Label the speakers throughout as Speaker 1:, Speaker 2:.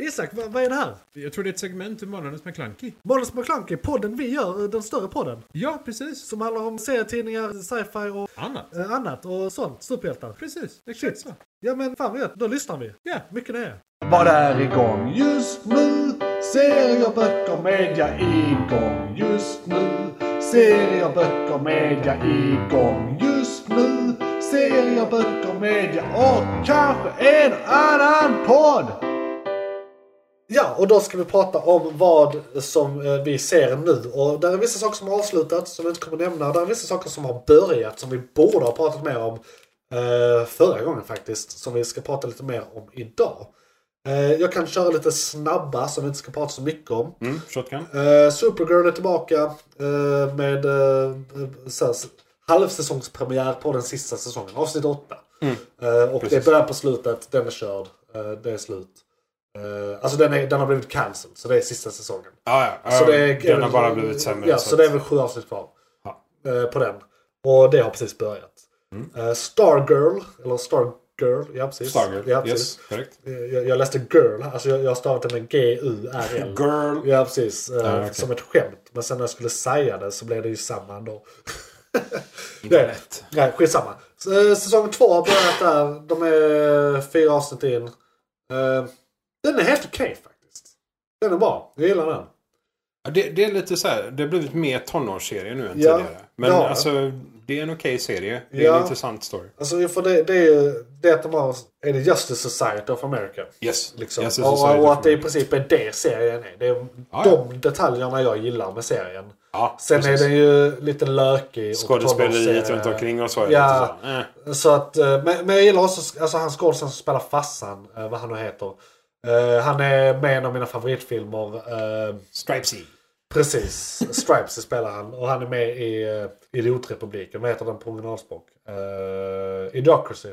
Speaker 1: Isak, vad, vad är det här?
Speaker 2: Jag tror det är ett segment ur Månadens McKlunky.
Speaker 1: Månadens McKlunky, podden vi gör, eh, den större podden.
Speaker 2: Ja, precis.
Speaker 1: Som handlar om serietidningar, sci-fi och
Speaker 2: Annat.
Speaker 1: eh, annat och sånt. Superhjältar.
Speaker 2: Precis, exakt
Speaker 1: Shit.
Speaker 2: så.
Speaker 1: Ja men fan vad gött, då lyssnar vi.
Speaker 2: Ja,
Speaker 1: Mycket nöje.
Speaker 3: Vad är igång just nu? Serier, böcker, media igång just nu. Serier, böcker, media igång just nu. Serier, böcker, media och kanske en annan podd.
Speaker 1: Ja, och då ska vi prata om vad som eh, vi ser nu. Och där är vissa saker som har avslutats som vi inte kommer nämna. Där är vissa saker som har börjat som vi borde ha pratat mer om eh, förra gången faktiskt. Som vi ska prata lite mer om idag. Eh, jag kan köra lite snabba som vi inte ska prata så mycket om.
Speaker 2: mm, shotgun.
Speaker 1: Eh, Supergirl är tillbaka eh, med eh, så här, halvsäsongspremiär på den sista säsongen, avsnitt 8. Eh, och
Speaker 2: Mm, Precis.
Speaker 1: det börjar på slutet, den är körd, eh, det är slut. Eh, alltså den, är, den har blivit cancelled, så det är sista säsongen.
Speaker 2: Ja, ja.
Speaker 1: så det är,
Speaker 2: den har bara blivit sämre.
Speaker 1: Ja, så, det är väl sju avsnitt kvar
Speaker 2: Ja. Mm.
Speaker 1: eh, på den. Och det har precis börjat. Eh, Stargirl, eller Stargirl, ja precis.
Speaker 2: Stargirl.
Speaker 1: Ja, precis. Eh,
Speaker 2: yes, korrekt.
Speaker 1: Jag, jag läste girl, alltså jag, jag stavade det med G-U-R-L.
Speaker 2: Girl.
Speaker 1: Ja, precis. Eh,
Speaker 2: Ja, okej.
Speaker 1: Som ett skämt. Men sen när jag skulle säga det så blev det ju samma ändå.
Speaker 2: Inte lätt.
Speaker 1: Nej, skitsamma. Så, eh, Säsong två har börjat där. De är fyra avsnitt in. Eh, Den är helt okej faktiskt. Den är bra. Jag gillar den.
Speaker 2: Ja, Det, det är lite så här, det har blivit mer tonårsserie nu än
Speaker 1: Ja,
Speaker 2: tidigare. Men
Speaker 1: det har det.
Speaker 2: alltså, det är en okej serie. Det är
Speaker 1: Ja.
Speaker 2: en intressant story.
Speaker 1: Alltså, för det, det är ju det att de har... Är det Justice Society of America?
Speaker 2: Yes.
Speaker 1: Liksom.
Speaker 2: yes,
Speaker 1: och,
Speaker 2: Society
Speaker 1: och
Speaker 2: of
Speaker 1: att det i
Speaker 2: America.
Speaker 1: princip är det serien är. Det är
Speaker 2: Ja, ja.
Speaker 1: de detaljerna jag gillar med serien.
Speaker 2: Ja,
Speaker 1: Sen
Speaker 2: precis.
Speaker 1: är den ju lite lökig. och
Speaker 2: Skådespeleriet
Speaker 1: tonårsserie.
Speaker 2: runt omkring och så. är
Speaker 1: Ja.
Speaker 2: lite så här, eh.
Speaker 1: Så att, eh, men, men jag gillar också alltså, han skådisen som spelar Fassan, eh, vad han nu heter. Eh, Han är med i en av mina favoritfilmer. eh,
Speaker 2: Stripesy.
Speaker 1: Precis, Stripes spelar han. Och han är med i eh, Idiotrepubliken, vad heter den på originalspråk? Uh, Idiocracy.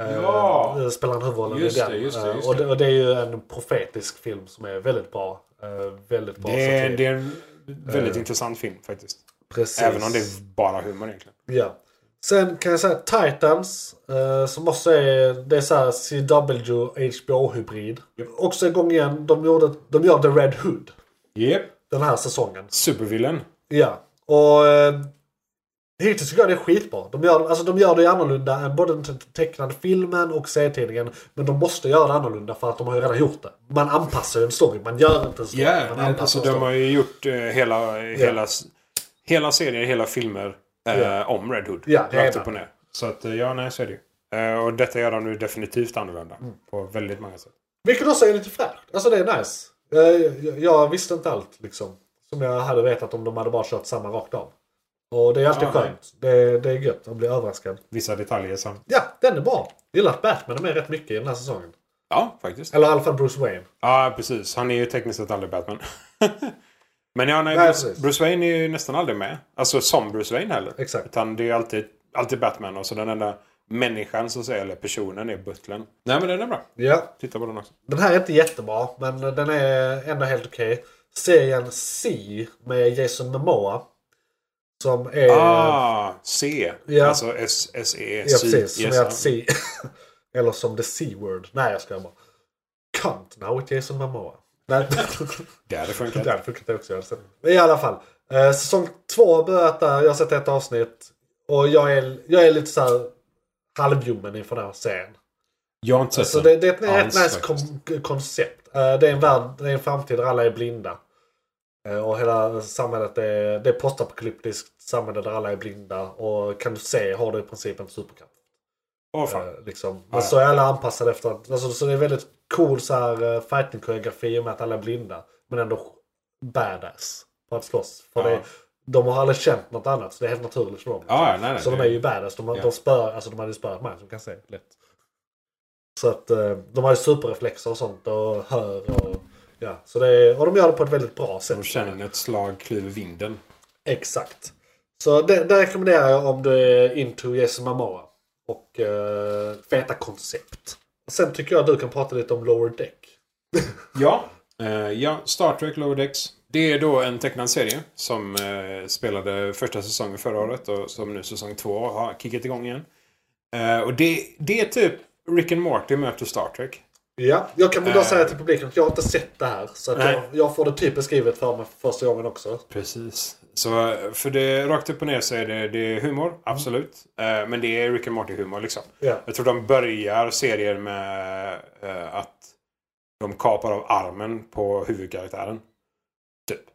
Speaker 1: Eh,
Speaker 2: Ja.
Speaker 1: där Spelar han huvudrollen
Speaker 2: Just
Speaker 1: i den.
Speaker 2: det, just det,
Speaker 1: Eh,
Speaker 2: just
Speaker 1: och,
Speaker 2: det.
Speaker 1: det, och det är ju en profetisk film som är väldigt bra. Eh, väldigt bra
Speaker 2: Det är,
Speaker 1: satir.
Speaker 2: det är en väldigt intressant film faktiskt.
Speaker 1: Eh. Precis.
Speaker 2: Även om det är bara humor egentligen.
Speaker 1: Ja. Sen kan jag säga Titans, eh, som också är, det är så här CW HBO-hybrid. Också igång igen, de, gjorde, de gör The Red Hood
Speaker 2: Japp. Yep.
Speaker 1: den här säsongen.
Speaker 2: Supervillen.
Speaker 1: Ja, och eh, hittills tycker jag det är skitbra. De gör, alltså, de gör det ju annorlunda än både den te- tecknade filmen och serietidningen. Men de måste göra det annorlunda för att de har ju redan gjort det. Man anpassar ju en story, man gör inte en story.
Speaker 2: Ja,
Speaker 1: man
Speaker 2: nej, alltså
Speaker 1: en
Speaker 2: de
Speaker 1: story.
Speaker 2: har ju gjort eh, hela, hela, s- hela serier, hela filmer eh,
Speaker 1: Ja.
Speaker 2: om Red Hood.
Speaker 1: Ja,
Speaker 2: Rakt
Speaker 1: redan.
Speaker 2: upp och ner. Så att, eh, ja, nej, så är det ju. Mm. Eh, och detta gör de nu definitivt annorlunda. På väldigt många sätt.
Speaker 1: Vilket också är lite fräscht. Alltså det är nice. Jag, jag, jag visste inte allt liksom. Som jag hade vetat om de hade bara kört samma rakt av. Och det är alltid
Speaker 2: Ja, nej.
Speaker 1: skönt. Det, det är gött att bli överraskad.
Speaker 2: Vissa detaljer som...
Speaker 1: Ja, den är bra. Jag gillar att Batman är med rätt mycket i den här säsongen.
Speaker 2: Ja, faktiskt. Ja,
Speaker 1: Eller i alla fall Bruce Wayne.
Speaker 2: precis. Han är ju tekniskt sett aldrig Batman. Men ja, nej,
Speaker 1: Nej,
Speaker 2: Bruce,
Speaker 1: precis.
Speaker 2: Bruce Wayne är ju nästan aldrig med. Alltså som Bruce Wayne heller.
Speaker 1: Exakt.
Speaker 2: Utan det är ju alltid, alltid Batman och så den enda människan som säger, eller personen, är butlern. Nej, men den är bra.
Speaker 1: Ja.
Speaker 2: Titta på den också.
Speaker 1: Den här är inte jättebra, men den är ändå helt okej. Serien C med Jason Momoa. Som är...
Speaker 2: Ah, C.
Speaker 1: Ja.
Speaker 2: Alltså S, S, E,
Speaker 1: Ja,
Speaker 2: C.
Speaker 1: precis. Som
Speaker 2: Yes,
Speaker 1: är
Speaker 2: ja.
Speaker 1: att C. Eller som the C-word. Nej, jag skojar bara. Cunt now with Jason Momoa. Nej,
Speaker 2: Det hade funkat.
Speaker 1: det fick jag också göra sen. Men I alla fall. Eh, säsong två har börjat där. Jag har sett ett avsnitt. Och jag är, jag är lite så här halvljummen inför den här serien.
Speaker 2: Jag har inte sett
Speaker 1: Så
Speaker 2: den.
Speaker 1: Alltså, det, det är ett, ett
Speaker 2: alls
Speaker 1: nice
Speaker 2: faktiskt.
Speaker 1: kom- koncept. Eh, det är en värld, det är en framtid där alla är blinda. Eh, och hela samhället är, det är postapokalyptiskt samhälle där alla är blinda. Och kan du se har du i princip en superkraft.
Speaker 2: Åh, fan.
Speaker 1: Eh, Liksom. Men
Speaker 2: Ja, ja.
Speaker 1: så är alla anpassade efter att, alltså, så det är väldigt cool så här, eh, fighting-koreografi med att alla är blinda. Men ändå badass på att slåss. För
Speaker 2: Ja.
Speaker 1: det, de har aldrig känt något annat så det är helt naturligt för dem.
Speaker 2: Ja, ja, nej, nej,
Speaker 1: så de
Speaker 2: det-
Speaker 1: är ju badass. De, har-
Speaker 2: Ja.
Speaker 1: de, spör, alltså, de hade ju spöat mig som kan se lätt. Så att eh, de har ju superreflexer och sånt och hör och ja. Så det är, och de gör det på ett väldigt bra sätt.
Speaker 2: De känner ett slag klyver vinden.
Speaker 1: Exakt. Så det, det rekommenderar jag om du är into Jason Momoa. Och eh, feta koncept. Sen tycker jag att du kan prata lite om Lower Deck.
Speaker 2: Ja. Eh, ja, Star Trek Lower Decks. Det är då en tecknad serie som eh, spelade första säsongen förra året och som nu säsong två har kickat igång igen. Eh, och det, det är typ Rick and Morty möter Star Trek.
Speaker 1: Ja, jag kan väl bara
Speaker 2: Eh.
Speaker 1: säga till publiken att jag har inte sett det här. Så att
Speaker 2: Nej.
Speaker 1: jag, jag får det typ beskrivet för mig för första gången också.
Speaker 2: Precis. Så eh, för det, rakt upp och ner så är det, det är humor, absolut. Eh, men det är Rick and Morty-humor liksom.
Speaker 1: Ja.
Speaker 2: Jag tror de börjar serien med eh, att de kapar av armen på huvudkaraktären.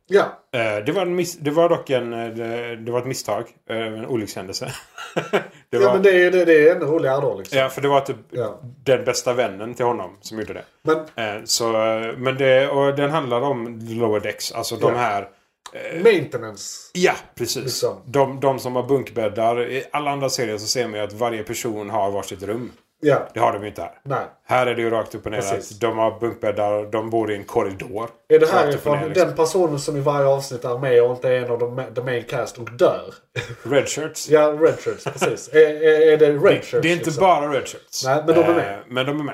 Speaker 1: Ja.
Speaker 2: Eh, det, var en miss, det var dock en, eh, det, det var ett misstag. eh, en olyckshändelse. det var,
Speaker 1: ja, men det är, det, det är ännu roligare då liksom.
Speaker 2: ja, för det var typ
Speaker 1: Ja.
Speaker 2: den bästa vännen till honom som gjorde det.
Speaker 1: Men
Speaker 2: Eh, så, eh, men det och den handlar om lower decks, alltså de
Speaker 1: Ja.
Speaker 2: här Eh.
Speaker 1: maintenance.
Speaker 2: Ja, precis.
Speaker 1: Liksom.
Speaker 2: De, de som har bunkbäddar. I alla andra serier så ser man ju att varje person har varsitt rum.
Speaker 1: Ja.
Speaker 2: Det har de ju inte här.
Speaker 1: Nej.
Speaker 2: Här är det ju rakt upp och ner
Speaker 1: Precis.
Speaker 2: att de har bunkbäddar, de bor i en korridor.
Speaker 1: Är det här
Speaker 2: Rakt upp och
Speaker 1: ifrån
Speaker 2: ner,
Speaker 1: den personen som i varje avsnitt är med och inte är en av de, the main cast och dör?
Speaker 2: liksom. Red shirts.
Speaker 1: ja, redshirts. Precis. är, är, är det redshirts?
Speaker 2: Det är inte
Speaker 1: liksom?
Speaker 2: bara red shirts.
Speaker 1: Nej, men de är med.
Speaker 2: Eh, men de är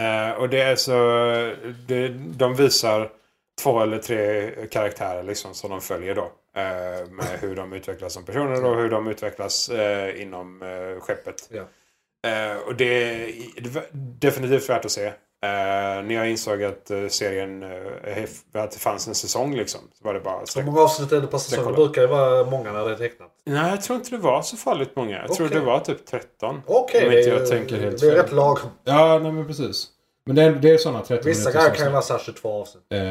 Speaker 2: med. Eh, och det är så... Det, de visar två eller tre karaktärer liksom som de följer då. Eh, med hur de utvecklas som personer och hur de utvecklas eh, inom eh, skeppet.
Speaker 1: Ja.
Speaker 2: Eh, och det är det var definitivt värt att se. Eh, när jag insåg att eh, serien, eh, att det fanns en säsong liksom. Så var det bara
Speaker 1: Hur
Speaker 2: streck.
Speaker 1: många avsnitt är det per säsong? Det
Speaker 2: kolla.
Speaker 1: brukar ju vara många när det är tecknat.
Speaker 2: Nej, jag tror inte det var så farligt många. Jag tror
Speaker 1: Okej.
Speaker 2: det var typ 13.
Speaker 1: Okej,
Speaker 2: Om inte
Speaker 1: det
Speaker 2: jag
Speaker 1: är-
Speaker 2: tänker helt
Speaker 1: det är
Speaker 2: fel.
Speaker 1: rätt lagom.
Speaker 2: Ja, nej men precis. Men det är, det är sådana 30
Speaker 1: Vissa
Speaker 2: minuters
Speaker 1: grejer kan ju
Speaker 2: avsnitt.
Speaker 1: vara såhär 22 avsnitt.
Speaker 2: Eh,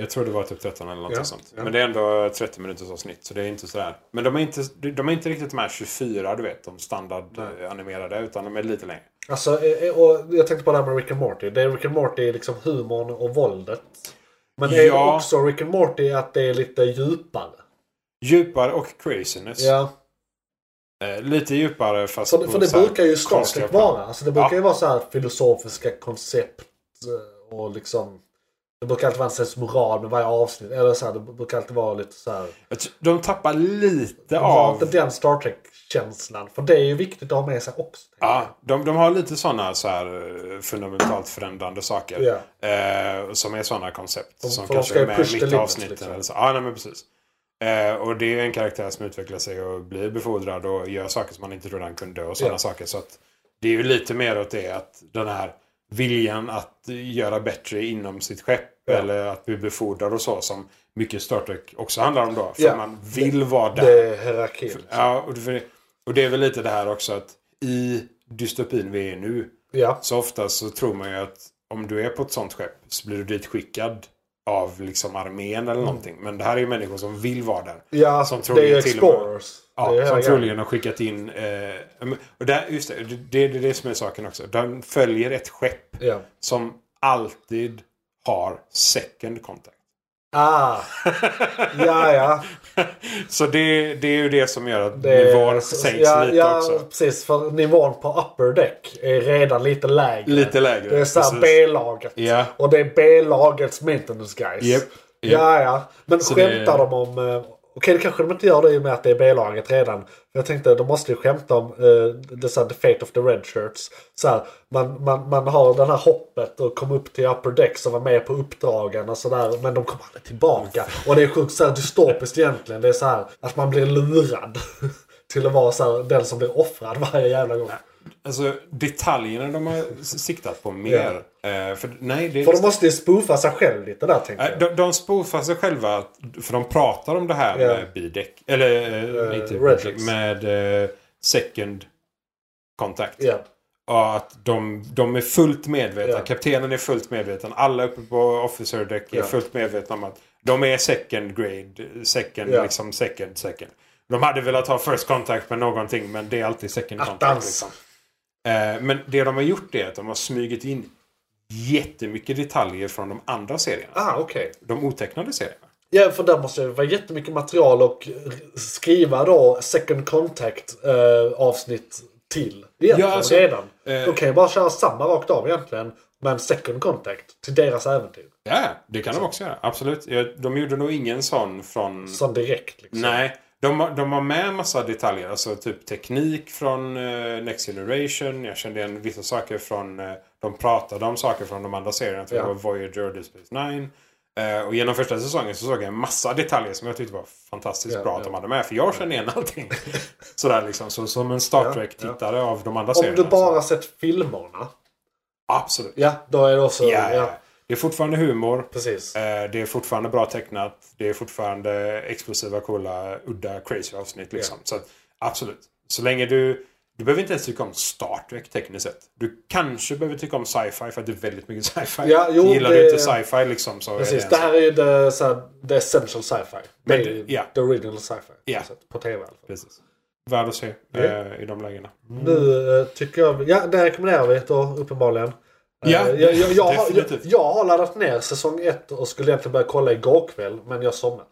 Speaker 2: jag tror det var typ 13 eller något
Speaker 1: Ja,
Speaker 2: sånt.
Speaker 1: ja.
Speaker 2: Men det är ändå 30 minuters avsnitt så det är inte sådär. Men de är inte, de är inte riktigt de här 24, du vet, de standardanimerade. Utan de är lite längre.
Speaker 1: Alltså, eh, eh, och jag tänkte på det här med Rick and Morty. Det är Rick and Morty är liksom humorn och våldet. Men det är
Speaker 2: Ja.
Speaker 1: också Rick and Morty att det är lite djupare.
Speaker 2: Djupare och craziness.
Speaker 1: Ja.
Speaker 2: Eh, lite djupare fast
Speaker 1: För,
Speaker 2: på
Speaker 1: för det
Speaker 2: så här
Speaker 1: brukar ju Star
Speaker 2: konstiga
Speaker 1: Trek
Speaker 2: plan.
Speaker 1: vara. Alltså, det brukar
Speaker 2: Ja.
Speaker 1: ju vara så här filosofiska koncept eh, och liksom... Det brukar alltid vara en sorts moral med varje avsnitt. Eller så här, det brukar alltid vara lite så här...
Speaker 2: Jag tror- De tappar lite
Speaker 1: De har
Speaker 2: av...
Speaker 1: inte den Star Trek-känslan. För det är ju viktigt att ha med sig också. tänker jag.
Speaker 2: Ja, de, de har lite sådana så här eh, fundamentalt förändrande saker. Eh, som är sådana koncept.
Speaker 1: Och
Speaker 2: som
Speaker 1: för de
Speaker 2: kanske
Speaker 1: ska
Speaker 2: är
Speaker 1: ju
Speaker 2: med
Speaker 1: push
Speaker 2: i
Speaker 1: the
Speaker 2: mitt
Speaker 1: limits,
Speaker 2: avsnitt.
Speaker 1: liksom.
Speaker 2: Eller så. Ja, nej, men precis. Eh, och det är en karaktär som utvecklar sig och blir befordrad och gör saker som man inte trodde han kunde och sådana
Speaker 1: Ja.
Speaker 2: saker. Så att det är ju lite mer åt det att den här viljan att göra bättre inom sitt skepp
Speaker 1: Ja.
Speaker 2: eller att bli befordrad och så som mycket Star Trek också handlar om då. För
Speaker 1: Ja.
Speaker 2: man vill vara där.
Speaker 1: Det är hierarkin.
Speaker 2: Ja, och det, och det är väl lite det här också att i dystopin vi är nu
Speaker 1: Ja.
Speaker 2: så ofta så tror man ju att om du är på ett sånt skepp så blir du ditskickad av liksom armén eller någonting. Men det här är ju människor som vill vara där.
Speaker 1: Mm. Ja,
Speaker 2: Som
Speaker 1: det är ju
Speaker 2: troligen till och med-
Speaker 1: Explorers. det är
Speaker 2: Ja, som
Speaker 1: hela grejen.
Speaker 2: troligen har skickat in... Eh, och där, just det, det, det är det som är saken också. De följer ett skepp
Speaker 1: Ja.
Speaker 2: som alltid har second contact.
Speaker 1: Ah, ja, ja.
Speaker 2: så det, det är ju det som gör att
Speaker 1: Det-
Speaker 2: nivån sänks
Speaker 1: ja,
Speaker 2: lite
Speaker 1: ja,
Speaker 2: också.
Speaker 1: precis. För nivån på upper deck är redan lite lägre.
Speaker 2: Lite lägre.
Speaker 1: Det är såhär
Speaker 2: precis.
Speaker 1: B-laget.
Speaker 2: Ja.
Speaker 1: Och det är B-lagets maintenance guys.
Speaker 2: Japp, japp.
Speaker 1: Ja, ja. Men
Speaker 2: Så
Speaker 1: skämtar
Speaker 2: det-
Speaker 1: de om... eh, Okej, det kanske de inte gör det i och med att det är B-laget redan. Jag tänkte, de måste ju skämta om uh, the, the fate of the red shirts. Så här, man, man, man har den här hoppet och kom upp till upper decks och var med på uppdragen och sådär. Men de kommer aldrig tillbaka. Och det är sjukt så här dystopiskt egentligen. Det är så här att man blir lurad. till att vara så här, den som blir offrad varje jävla gång.
Speaker 2: Alltså detaljerna de har s- siktat på mer. Eh, för, nej, det,
Speaker 1: För de måste ju spoofa sig själv lite där tänker jag.
Speaker 2: Eh, de, de spoofar sig själva. att- För de pratar om det här
Speaker 1: Ja.
Speaker 2: med bidäck. Eller eh,
Speaker 1: Eh,
Speaker 2: inte
Speaker 1: red
Speaker 2: bidäck.
Speaker 1: checks.
Speaker 2: Med eh, second contact.
Speaker 1: Ja.
Speaker 2: Och att de, de är fullt medvetna.
Speaker 1: Ja.
Speaker 2: Kaptenen är fullt medveten. Alla uppe på officer deck är
Speaker 1: Ja.
Speaker 2: fullt medvetna om att de är second grade. Second,
Speaker 1: Ja.
Speaker 2: liksom second, second. De hade velat ha first contact med någonting men det är alltid second contact.
Speaker 1: Attans.
Speaker 2: Liksom. Eh, men det de har gjort är att de har smugit in jättemycket detaljer från de andra serierna.
Speaker 1: Ah, okej.
Speaker 2: De otecknade serierna.
Speaker 1: Ja, för där måste det vara jättemycket material och skriva då second contact eh, avsnitt till. Egentligen,
Speaker 2: Ja, alltså,
Speaker 1: redan.
Speaker 2: eh,
Speaker 1: De kan ju bara köra samma rakt av egentligen. Men second contact till deras äventyr.
Speaker 2: Ja, det kan de också göra. Absolut. Ja, De gjorde nog ingen sån från...
Speaker 1: Som direkt liksom.
Speaker 2: Mm. Nej. De, har- de har med en massa detaljer. Alltså typ teknik från eh, Next Generation. Jag kände igen vissa saker från... eh, de pratade om saker från de andra serierna. Jag tror
Speaker 1: Ja.
Speaker 2: det var Voyager och Deep Space Nine. Eh, och genom första säsongen så såg jag en massa detaljer som jag tyckte var fantastiskt
Speaker 1: Ja,
Speaker 2: bra att
Speaker 1: ja.
Speaker 2: de hade med. För jag kände igen allting. Sådär liksom. Så, som en Star
Speaker 1: Ja,
Speaker 2: Trek-tittare av de andra
Speaker 1: Om
Speaker 2: serierna.
Speaker 1: du bara sett filmerna.
Speaker 2: Absolut.
Speaker 1: Ja, då är det också...
Speaker 2: alltså. Ja, ja. Det är fortfarande humor.
Speaker 1: precis.
Speaker 2: Eh, Det är fortfarande bra tecknat. Det är fortfarande explosiva, coola, udda, crazy avsnitt. Liksom. Så att, absolut. Så länge du... Du behöver inte ens tycka om Star Trek tekniskt sett. Du kanske behöver tycka om sci-fi för att det är väldigt mycket sci-fi.
Speaker 1: Ja, jo,
Speaker 2: Gillar
Speaker 1: det-
Speaker 2: du inte sci-fi liksom så är det,
Speaker 1: Precis,
Speaker 2: en
Speaker 1: det
Speaker 2: sak.
Speaker 1: här är ju the, så här, the essential sci-fi. Det
Speaker 2: Men
Speaker 1: är
Speaker 2: det-
Speaker 1: ju
Speaker 2: ja.
Speaker 1: the original sci-fi.
Speaker 2: Ja.
Speaker 1: Så att På tv i alla fall.
Speaker 2: Precis. Värd att se
Speaker 1: Mm.
Speaker 2: eh, i de lägena.
Speaker 1: Nu eh, tycker jag... Ja, det rekommenderar vi då uppenbarligen. Eh,
Speaker 2: Ja,
Speaker 1: jag, jag, jag, har- jag,
Speaker 2: definitivt.
Speaker 1: jag har laddat ner säsong 1 och skulle egentligen börja kolla igår kväll, men jag somnade.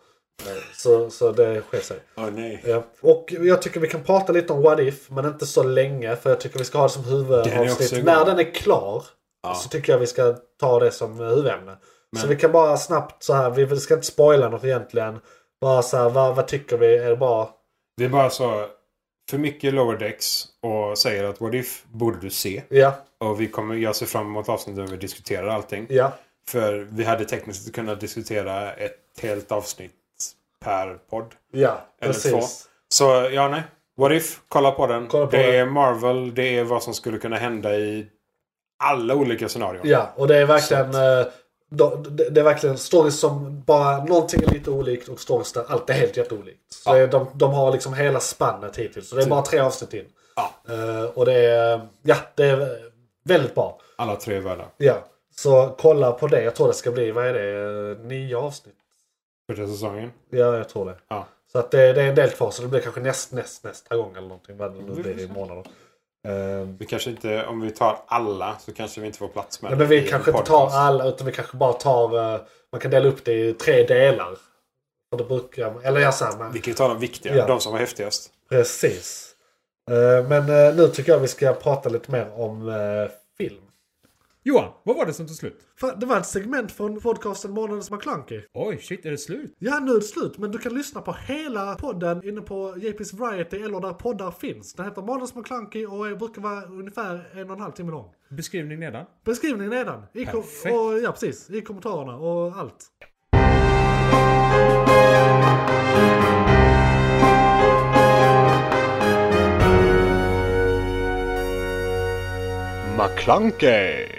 Speaker 1: Eh, Så, så det sker sig.
Speaker 2: Åh nej.
Speaker 1: Ja. Och jag tycker vi kan prata lite om What If, men inte så länge. För jag tycker vi ska ha det som
Speaker 2: Den är också
Speaker 1: huvudavsnitt.
Speaker 2: igång.
Speaker 1: När den är klar
Speaker 2: Ja.
Speaker 1: så tycker jag vi ska ta det som huvudämne. Så vi kan bara snabbt så här, vi ska inte spoila något egentligen. Bara så här, vad, vad tycker vi? Är det bra?
Speaker 2: Det är bara så. För mycket lower decks och säger att what if borde du se.
Speaker 1: Ja,
Speaker 2: Och vi kommer, jag ser fram emot avsnittet där vi diskuterar allting.
Speaker 1: ja,
Speaker 2: För vi hade tekniskt sett kunnat diskutera ett helt avsnitt per podd.
Speaker 1: ja.
Speaker 2: Eller två.
Speaker 1: Precis.
Speaker 2: Så ja, nej. What if? Kolla på den.
Speaker 1: Kolla på
Speaker 2: det
Speaker 1: den.
Speaker 2: är Marvel. Det är vad som skulle kunna hända i alla olika scenarion.
Speaker 1: Ja, och det är verkligen... eh, då- Det det är verkligen stories som bara någonting är lite olikt och stories där allt är helt jätteolikt. Så det är, de, de har liksom hela spannet hittills. Så det är bara tre avsnitt in.
Speaker 2: Typ. Ja,
Speaker 1: Eh, och det är, ja, det är väldigt bra.
Speaker 2: alla tre är värda.
Speaker 1: Ja. Så kolla på det. Jag tror det ska bli, vad är det, eh, nio avsnitt?
Speaker 2: Första säsongen.
Speaker 1: Ja, jag tror det.
Speaker 2: Ja.
Speaker 1: Så att det, det är en del kvar, så det blir kanske näst, näst, nästa gång eller någonting. Vad det nu blir i månader. Eh,
Speaker 2: Vi kanske inte, om vi tar alla så kanske vi inte får plats med
Speaker 1: nej, men vi
Speaker 2: i en
Speaker 1: kanske inte tar
Speaker 2: podcast.
Speaker 1: alla, utan vi kanske bara tar... eh, man kan dela upp det i tre delar. Och det brukar, eller jag säger, man-
Speaker 2: Vi kan ju ta de viktiga,
Speaker 1: Ja.
Speaker 2: de som var häftigast.
Speaker 1: precis. Eh, men eh, nu tycker jag vi ska prata lite mer om eh, film.
Speaker 4: Johan, vad var det som tog slut?
Speaker 1: Fan, Det var ett segment från podcasten Månadens McKlunky.
Speaker 4: Oj, shit, är det slut?
Speaker 1: Ja, nu är det slut. Men du kan lyssna på hela podden inne på JP's Variety eller där poddar finns. Den heter Manus McClunky och är- brukar vara ungefär en och en halv timme lång.
Speaker 4: Beskrivning nedan.
Speaker 1: Beskrivningen nedan. I kom-
Speaker 4: Perfekt.
Speaker 1: och, ja, precis. I kommentarerna och allt.
Speaker 3: McClunkey.